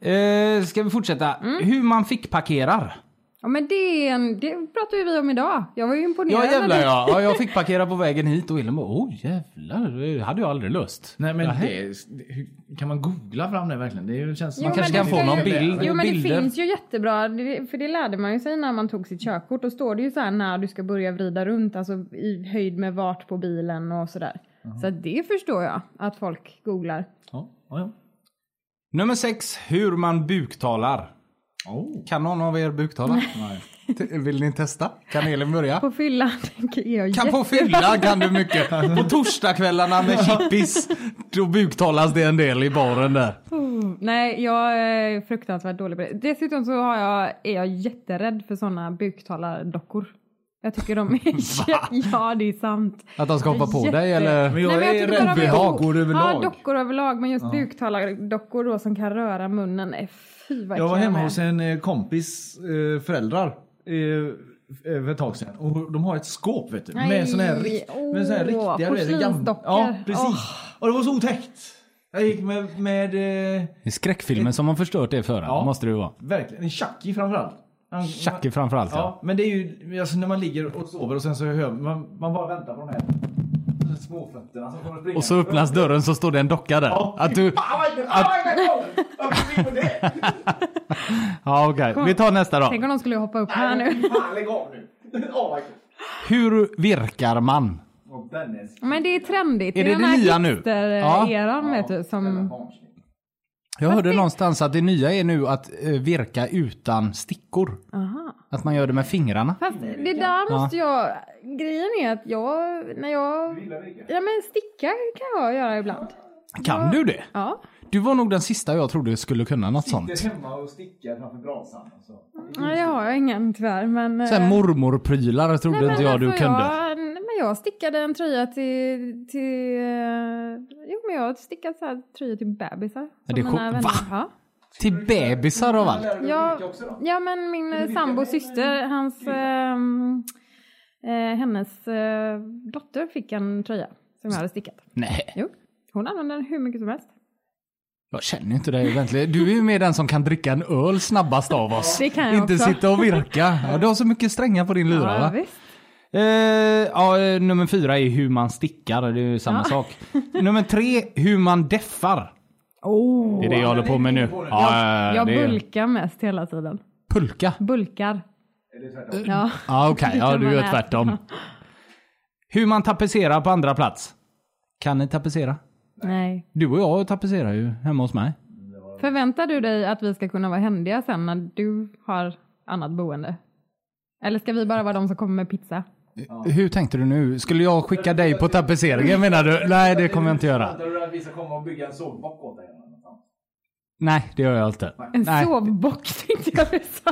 B: Nej.
A: Eh, ska vi fortsätta? Hur man fick parkerar.
E: Ja, men det, är en, det pratar ju vi om idag. Jag var ju imponerad.
A: Ja
E: när
A: jävlar
E: du-
A: ja. ja. Jag fick parkera på vägen hit och Elin bara, oh jävlar, det hade jag aldrig löst.
B: Nej men
A: Nähä.
B: det, hur- kan man googla fram det verkligen? Det är ju- känns som-
E: Jo,
A: Man kanske
E: men
A: kan
E: det
A: få
E: ska
A: någon
E: ju-
A: bild.
E: Jo men
A: bilder.
E: det finns ju jättebra, det- för det lärde man ju sig när man tog sitt körkort. Då står det ju så här när du ska börja vrida runt, alltså i höjd med vart på bilen och sådär.
A: Mhm.
E: Så att det förstår jag att folk googlar.
B: Ja, ja, ja.
A: Nummer sex, hur man buktalar.
B: Oh.
A: Kan någon av er buktala?
B: Nej.
A: T- Vill ni testa? Kan Elin börja?
E: På fyllan tänker jag
A: Kan på fylla kan du mycket. På torsdagskvällarna med chippis, då buktalas det en del i baren där.
E: Oh, Nej, jag är fruktansvärt dålig på det. Dessutom så har jag, är jag jätterädd för sådana buktalardockor. Jag tycker de är... ja, det är sant.
A: Att de ska hoppa på
E: Jätte-
A: dig eller?
B: Men jag
E: Nej, men
B: är
E: tycker
B: rädd
E: bara
B: för
E: de är-
B: dockor
E: Ja,
B: överlag.
E: dockor överlag. Men just buktalardockor då som kan röra munnen. Nej, fy vad
B: Jag var
E: äckliga de
B: hemma
E: är.
B: hos en eh, kompis eh, föräldrar eh, för ett tag sedan. Och de har ett skåp vet du.
E: Nej,
B: Med sån här, rikt, med sån här
E: åh,
B: riktiga... du vet, gam-
E: porslinsdockor.
B: Ja, precis.
E: Åh.
B: Och det var så otäckt. Jag gick med, med eh,
A: Det är skräckfilmer som har förstört det för
B: Ja.
A: ja. måste det ju vara.
B: verkligen, en Chucky framförallt. Han-
A: Chucky framförallt ja.
B: Ja, men det är ju alltså när man ligger och sover och sen så hör man, man bara väntar på de här småfötterna som kommer springa.
A: Och så öppnas dörren så står det en docka där. Att du... Ja okej, vi tar nästa då.
E: Tänk om de skulle hoppa upp här nu.
A: Hur virkar man?
E: Men det är trendigt.
A: Är det
E: den
A: det
E: här
A: nya nu?
E: hipster-eran
A: Ja.
E: vet du. Som...
A: Jag hörde någonstans att det nya är nu att eh, virka utan stickor.
E: Aha.
A: Att man gör det med fingrarna.
E: Fast det där måste jag... Grejen är att jag... När jag... Ja men sticka kan jag göra ibland.
A: Kan du det?
E: Ja.
A: Du var nog den sista jag trodde skulle kunna något sånt.
B: hemma och stickar framför brasan. Alltså.
E: Nej det har jag ingen tyvärr men...
A: Sen
E: eh,
A: mormorprylar trodde
E: nej, men
A: inte jag du
E: alltså,
A: kunde.
E: Jag, nej, men jag stickade en tröja till... till eh, jo men jag har stickat så här tröjor till bebisar.
A: Ja,
E: som
A: det är
E: mina
A: sjukt.
E: vänner-
A: Va?
E: Ja.
A: Till bebisar av allt.
E: Ja, ja men min eh, sambos syster, hans... ehm, eh, hennes eh, dotter fick en tröja som jag hade stickat.
A: Nej,
E: Jo, hon använde den hur mycket som helst.
A: jag känner inte dig egentligen. Du är ju mer den som kan dricka en öl snabbast av oss.
E: Det kan jag
A: inte
E: också.
A: sitta och virka. Ja, du har så mycket strängar på din lyra va?
E: visst.
A: Eh, ja, eh, nummer fyra är hur man stickar, det är ju samma sak. Nummer tre, hur man deffar.
E: Oh.
A: Det är det jag håller på med nu. Ja, ja, ja,
E: Jag
A: det är-
E: bulkar mest hela tiden.
A: Pulka?
E: Bulkar. Ja.
A: Ja, okej. Ja,
E: kan
A: du
E: man
A: gör
E: äta.
A: tvärtom. Hur man tapetserar på andra plats. Kan ni tapetsera?
E: Nej.
A: Du och jag tapetserar ju hemma hos mig.
E: Förväntar du dig att vi ska kunna vara händiga sen när du har annat boende? Eller ska vi bara vara de som kommer med pizza?
A: Hur tänkte du nu? Skulle jag skicka dig på tapetseringen menar du? Nej, det kommer jag inte göra.
B: Väntar du att vi ska komma och bygga en sovbock åt dig? eller något?
A: Nej, det gör jag inte.
E: En
A: Nej.
E: sovbock tänkte jag du sa.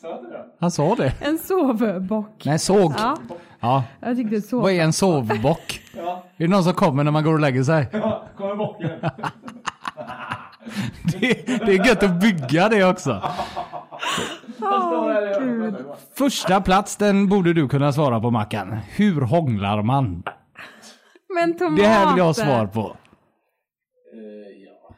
B: Sa du det?
A: Han sa det.
E: En sovbock.
A: Nej, såg.
E: Ja,
A: Ja.
E: jag tyckte sov.
A: Vad är en sovbock? Är det någon som kommer när man går och lägger sig?
B: Ja, kommer bocken.
A: Det, det är gött att bygga det också. Första plats, den borde du kunna svara på Mackan. Hur hånglar man?
E: Men tomater.
A: Det här vill jag ha svar på.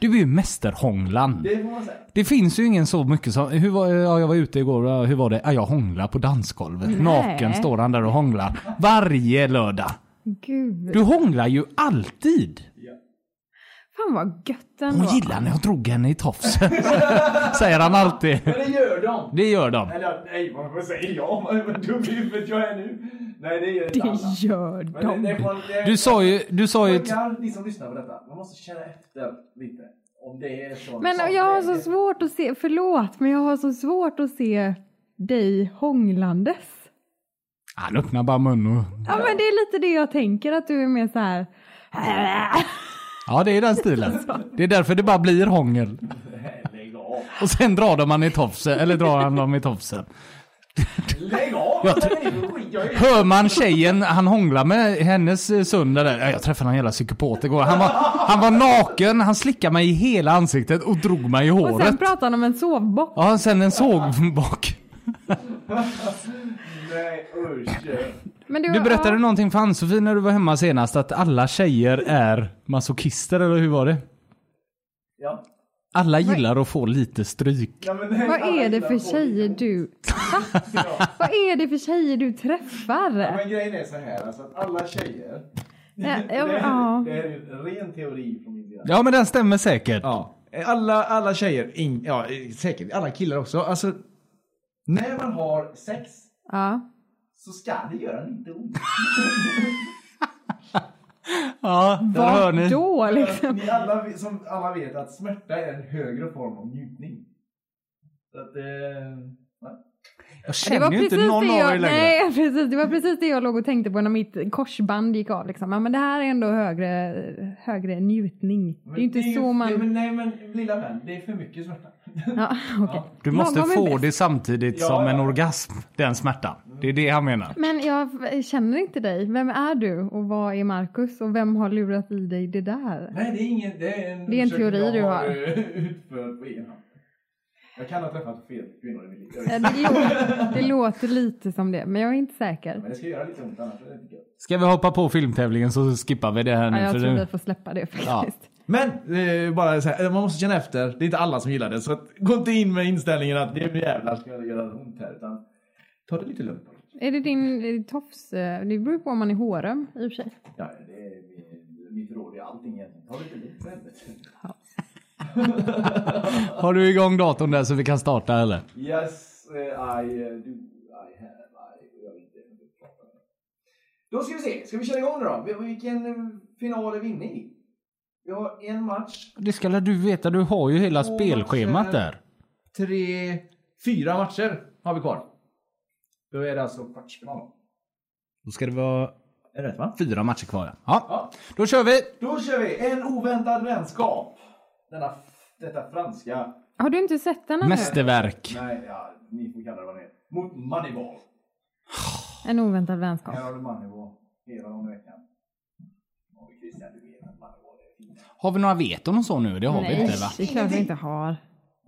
A: Du är ju mästerhånglan.
B: Det får man säga.
A: Det finns ju ingen så mycket som... Hur var, ja, jag var ute igår, ja, hur var det? Ja, jag hånglade på dansgolvet. Naken står han där och hånglar. Varje lördag.
E: Gud,
A: Du hånglar ju alltid.
E: fan vad gött ändå.
A: Hon gillar när jag drog henne i tofsen. Säger han alltid.
B: Men det gör de.
A: Det gör de.
B: Eller nej, vad säger jag? Vad dum i huvudet jag är nu. Nej, det gör inte alla.
E: Det gör
B: Men det-
E: de.
B: det får- det-
A: Du sa ju... Du sa ju...
B: Ungar, ni som lyssnar på detta, man måste känna efter lite. Om det är så.
E: Men jag har så svårt att se, förlåt, men jag har så svårt att se dig hånglandes.
A: Han öppnar bara munnen och...
E: Ja men det är lite det jag tänker att du är mer så här.
A: Ja, det är den stilen. Det är därför det bara blir hångel. Och sen drar de han i tofsen, eller drar han dem i tofsen.
B: Lägg av!
A: Jag tr- Hör man tjejen han hånglar med, hennes eh, son där, där. Ja, Jag träffade en jävla psykopat igår. Han var, han var naken, han slickade mig i hela ansiktet och drog mig i
E: Och sen
A: håret.
E: pratar han om en sovbock.
A: Ja, sen en sågbak.
B: Nej, usch.
E: Men
A: Du berättade
E: ja,
A: någonting för Ann-Sofie när du var hemma senast att alla tjejer är masochister, eller hur var det?
B: Ja.
A: Alla gillar att få lite stryk.
B: Ja, men nej,
E: Vad
B: alla
E: är det
B: gillar
E: för
B: att få
E: tjejer
B: lite-
E: du... Va? Vad är det för tjejer du
B: Ja,
E: träffar?
B: Men grejen är så här, alltså att alla tjejer.
E: Ja, ja,
B: det,
E: ja.
B: här, det här är en ren teori från min sida.
A: Ja, men den stämmer säkert.
B: Ja. Alla, alla tjejer, in, ja säkert, alla killar också. Alltså, när man har sex
E: Ja.
B: så ska det göra lite ont.
A: Ja, där hör
E: Vad
A: ni.
E: då liksom?
F: Ni alla, som alla vet att smärta är en högre form av njutning. Så att, eh, nej.
A: Jag
E: Det var
A: känner ju
E: precis
A: inte
E: det,
A: någon av er
E: jag,
A: längre.
E: nej, precis, det var precis det jag låg och tänkte på när mitt korsband gick av. Liksom. Ja, men det här är ändå högre, högre njutning. Det är ju inte
F: ju-
E: så man...
F: Nej men, nej, men lilla vän, det är för mycket smärta.
E: Ja, okej.
A: Du måste
E: Lagom är
A: få
E: bäst.
A: det samtidigt
F: Ja,
A: som en
F: ja.
A: orgasm, den smärtan.
E: Mm.
A: Det är det han menar.
E: Men jag känner inte dig. Vem är du och vad är Marcus och vem har lurat i dig det där?
F: Nej, det är ingen... Det är en,
E: Det är en
F: undersökning
E: teori
F: jag
E: du har.
F: eh, Utförd på egen hand. Jag kan ha träffat fel kvinnor i mitt liv. jag vet
E: Ja,
F: inte.
E: Eh, Det låter, det låter lite som det, men jag är inte säker.
F: Men det ska göra lite ont annars. är det inte gött.
A: Ska vi hoppa på filmtävlingen så skippar vi det här nu.
E: Ja, jag
A: för
E: tror
A: nu-
E: vi får släppa det faktiskt.
F: Men eh, bara så här, man måste känna efter. Det är inte alla som gillar det. Så att, gå inte in med inställningen att det är jävlar ska jag göra ont här. Utan ta det lite lugnt.
E: Är det din är det tofs? eh, Det beror på om man är håröm i och för sig.
F: Ja, det är min- mitt råd i allting egentligen. Ta det lite lugnt för helvete.
A: Har du igång datorn där så vi kan starta eller?
F: Yes, eh, I eh, do. I have. I, jag vet inte. hur det pratar. Då ska vi se. Ska vi köra igång nu då? Vi- Vilken eh, final är vi inne i? Vi har en match,
A: Det ska väl du veta, du har ju hela
F: Två
A: spelschemat
F: matcher.
A: där.
F: tre, fyra matcher har vi kvar. Då är det alltså kvartsfinal.
A: Då ska det vara
F: Är det rätt va?
A: fyra matcher kvar. Ja.
F: Ja.
A: Då kör vi!
F: Då kör vi! En oväntad vänskap. Denna, f- detta franska...
E: Har du inte sett den ännu?
A: Mästerverk.
F: Nej, ja, ni får kalla det vad ni är. Mot Moneyball.
E: En oväntad vänskap.
F: Här har du Moneyball. Hela om veckan. Och Christian, du vet att Moneyball är fint.
A: Har vi några veton och så nu? Det har vi
E: Nej,
A: inte va?
E: det är klart vi inte har.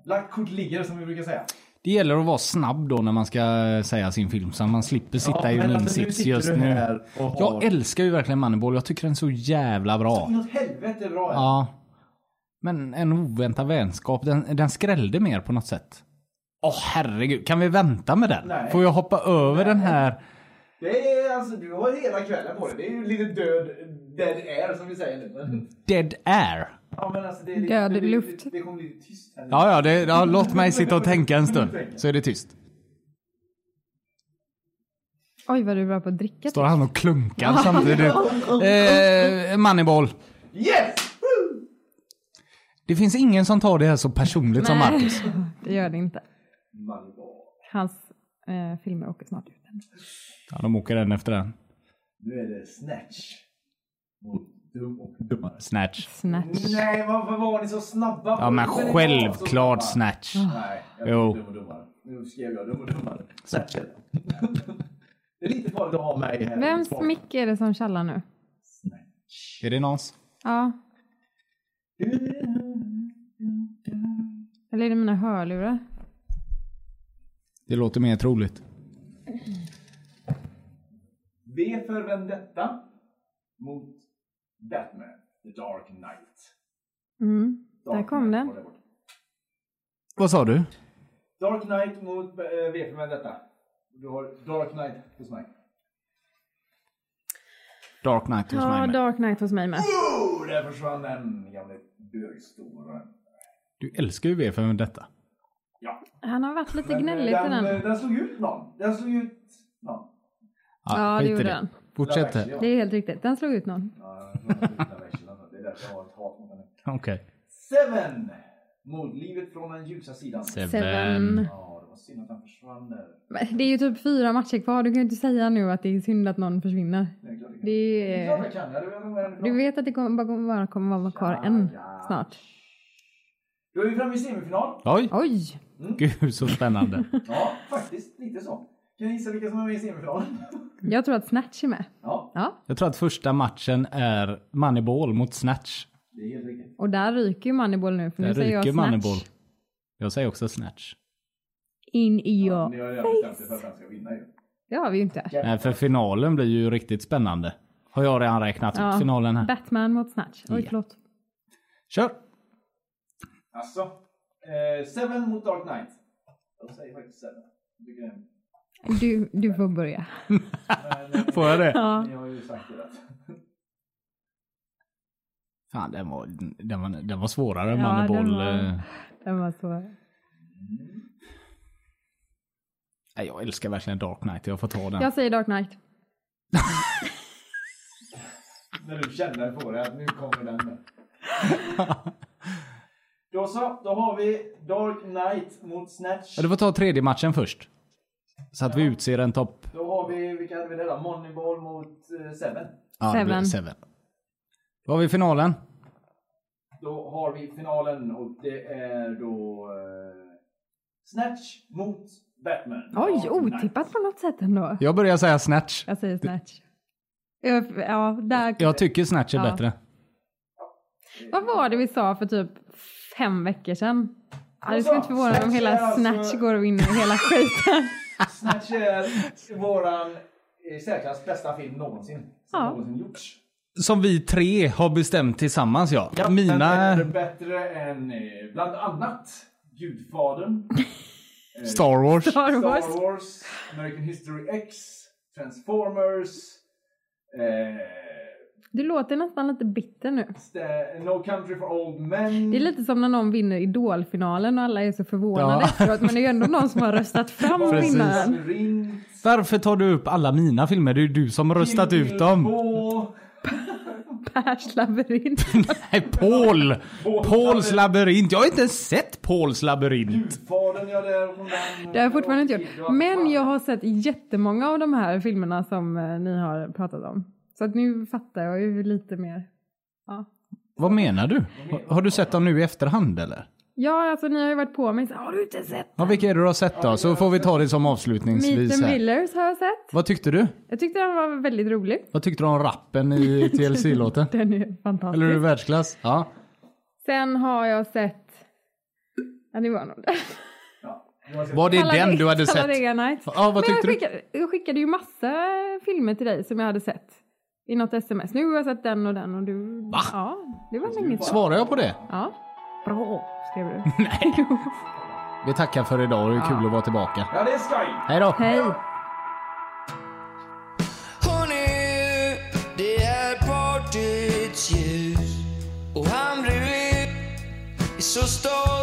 F: Lagt kort ligger som vi brukar säga.
A: Det gäller att vara snabb då när man ska eh, säga sin film så man slipper sitta i
F: men
A: en
F: alltså, nu
A: insits
F: sitter
A: just
F: du
A: nu.
F: här och har-
A: Jag älskar ju verkligen Moneyball. Jag tycker den är så jävla bra.
F: Inåt helvete bra är det.
A: Ja. Men en oväntad vänskap, den, den skrällde mer på något sätt. Åh herregud, kan vi vänta med den?
F: Nej.
A: Får jag hoppa över den här?
F: det är alltså, du har hela kvällen på dig. Det är ju lite död, dead air som vi säger nu. Men,
A: Dead air.
F: ja, men alltså, det är lite,
E: Död
F: det, det-
E: luft.
F: Det, det kommer bli tyst här nu.
A: Ja, ja, det, ja, låt mig sitta och tänka en stund. Så är det tyst.
E: Oj, vad du är bra på att dricka. typ.
A: Står han och klunkar samtidigt. Eh, Moneyball.
F: Yes! Woo!
A: Det finns ingen som tar det här så personligt som
E: Nej.
A: Marcus.
E: Det gör det inte.
F: Moneyball.
E: Hans eh, filmer åker snart ut.
A: Ja, de åker den efter den.
F: Nu är det Snatch. Och dum och dummare.
A: Snatch.
E: Snatch.
F: Nej, varför var ni så snabba?
A: Ja, men
F: Varför är ni så
A: självklart
F: snabba?
A: Snatch.
E: Ah.
F: Nej, jag
A: Jo.
F: jo. dum och dummare. Nu skrev jag dum och dummare. Snatch är det. Det är lite farligt att ha mig här.
E: Vems mick är det som tjallar nu?
A: Är det någons?
E: Ja. Eller är det mina hörlurar?
A: Det låter mer troligt.
F: V för Vendetta mot Batman, The Dark Knight.
E: Mm.
F: Dark
E: Där kom
F: Knight
E: den.
F: var det bort.
A: Vad sa du?
F: Dark Knight mot eh, V för Vendetta. Du har Dark Knight hos mig.
A: Dark Knight hos
E: Ja,
A: mig med.
E: Dark Knight hos mig med.
F: Oh, där försvann den gamle bögstoraren.
A: Du älskar ju V för detta.
F: Ja.
E: Han har varit lite
F: Men, eh,
E: gnällig till
F: den,
E: den.
F: eh, den slog ut någon. Den slog ut någon.
E: Ja, det
A: Ah, skit i
E: gjorde den.
A: Fortsätt.
F: Love Actually,
A: här.
E: Det är helt riktigt. Den slog ut någon.
F: Ja, jag tror att det är Love Actually, det är därför jag har ett hat mot henne.
A: Okej.
F: Seven! Mot livet från den ljusa sidan.
A: Seven.
E: Seven.
F: Ja, det var synd att han försvann där.
E: Men Det är ju typ fyra matcher kvar. Du kan ju inte säga nu att det är synd att någon försvinner.
F: Det är klart jag kan.
E: Det
F: Det är klart
E: är...
F: jag kan. Jag hade velat vara med
E: Du
F: ändå.
E: vet att det kommer- bara kommer bara kommer vara kvar en snart.
F: Då är vi framme i semifinal.
A: Oj!
E: Oj!
A: Gud så spännande.
F: Ja, faktiskt lite så. Kan ni gissa vilka som är med i semifinalen?
E: Jag tror att Snatch är med.
F: Ja,
E: Ja,
A: Jag tror att första matchen är Moneyball mot Snatch.
F: det är helt riktigt.
E: och där ryker ju Moneyball nu. För nu
A: Där
E: säger jag
A: ryker
E: Snatch.
A: Moneyball. Jag säger också Snatch.
E: In i
F: Ni
E: your...
F: har redan bestämt er för att han ska vinna ju.
E: Det har vi ju inte.
A: Nej, för finalen blir ju riktigt spännande. Har jag redan räknat
E: Ja.
A: ut finalen här.
E: Batman mot Snatch. Oj,
A: Ja.
E: förlåt.
A: Kör!
F: Alltså, eh, Seven mot Dark Knight. Jag säger faktiskt Seven. Jag tycker det är en-
E: Du, du får börja.
A: Får jag det?
E: Ja.
F: Ni har ju sagt det rätt.
A: Fan, den var, den var, den var svårare än
E: Ja,
A: Moneyball.
E: den var-
A: eh.
E: Den var så...
A: Nej, Jag älskar verkligen Dark Knight. Jag får ta den.
E: Jag säger Dark Knight.
F: När du känner på det att nu kommer den. Där. Då så, då har vi Dark Knight mot Snatch.
A: Ja, du får ta tredje matchen först. Så att vi utser en topp.
F: Då har vi, vilka hade vi där då? Moneyball mot eh, Seven.
A: Ja, det blir
E: Seven.
A: seven. Då har vi finalen.
F: Då har vi finalen och det är då eh, Snatch mot Batman.
E: Oj,
F: Dark Knight.
E: otippat på något sätt ändå.
A: Jag börjar säga Snatch.
E: Jag säger Snatch. Jag- Ja, där.
A: Jag tycker Snatch är
E: Ja.
A: bättre.
E: Vad var det vi sa för typ fem veckor sedan? Ja, det
F: Alltså,
E: skulle inte förvåna mig om
F: Snatch
E: hela
F: är alltså-
E: Snatch går och vinner hela skiten.
F: Snatch är våran eh, i särklass bästa film någonsin. Som
E: Ja.
F: någonsin gjorts.
A: Som vi tre har bestämt tillsammans ja.
F: Den
A: Mina
F: är bättre än eh, bland annat Gudfadern,
A: Star Wars.
E: Star Wars.
F: Star Wars, American History X, Transformers, eh,
E: Du låter nästan lite bitter nu.
F: Sta- No Country for Old Men.
E: Det är lite som när någon vinner idolfinalen och alla är så förvånade
A: Ja.
E: efteråt. Men det är ju ändå någon som har röstat fram
A: Precis.
E: vinnaren.
F: Ring,
A: Varför tar du upp alla mina filmer? Det är ju du som har röstat ut dem.
F: Bilbo,
E: Pers labyrint.
A: Nej, Paul!
F: Paul-
A: Pauls labyrint. Jag har inte ens sett Pauls labyrint.
F: Gudfadern jag där. hon vann. eh,
E: Det har jag fortfarande inte gjort. Men jag har sett jättemånga av de här filmerna som eh, ni har pratat om. Så att nu fattar jag ju lite mer. Ja,
A: Vad menar du? Har du sett dem nu i efterhand eller?
E: ja alltså ni har ju varit på mig. Så, har du inte sett?
A: Ja, vilka är det du har sett då? Så får vi ta det som
E: Meet
A: avslutningsvis
E: the
A: här.
E: Millers har jag sett.
A: Vad tyckte du?
E: Jag tyckte den var väldigt rolig.
A: Vad tyckte du om rappen i TLC-låten?
E: Den är fantastisk.
A: Eller är du världsklass? Ja.
E: Sen har jag sett... Ja, det var nog det.
A: Var det den du hade sett?
E: Talladega Nights.
A: Ja, vad
E: Men
A: tyckte
E: jag,
A: du?
E: skickade, jag skickade ju massa filmer till dig som jag hade sett i något sms. Nu har jag sett den och den och du... Va? Ja, det var länge sedan.
A: Svarar jag på Alltså, det?
E: Ja. Bra, skrev du.
A: Vi tackar för idag och det är kul att vara tillbaka.
F: Ja, det är skoj!
A: Hej då!
E: Hej.
G: Honey, the airport it's used. Och han bredvid är så stolt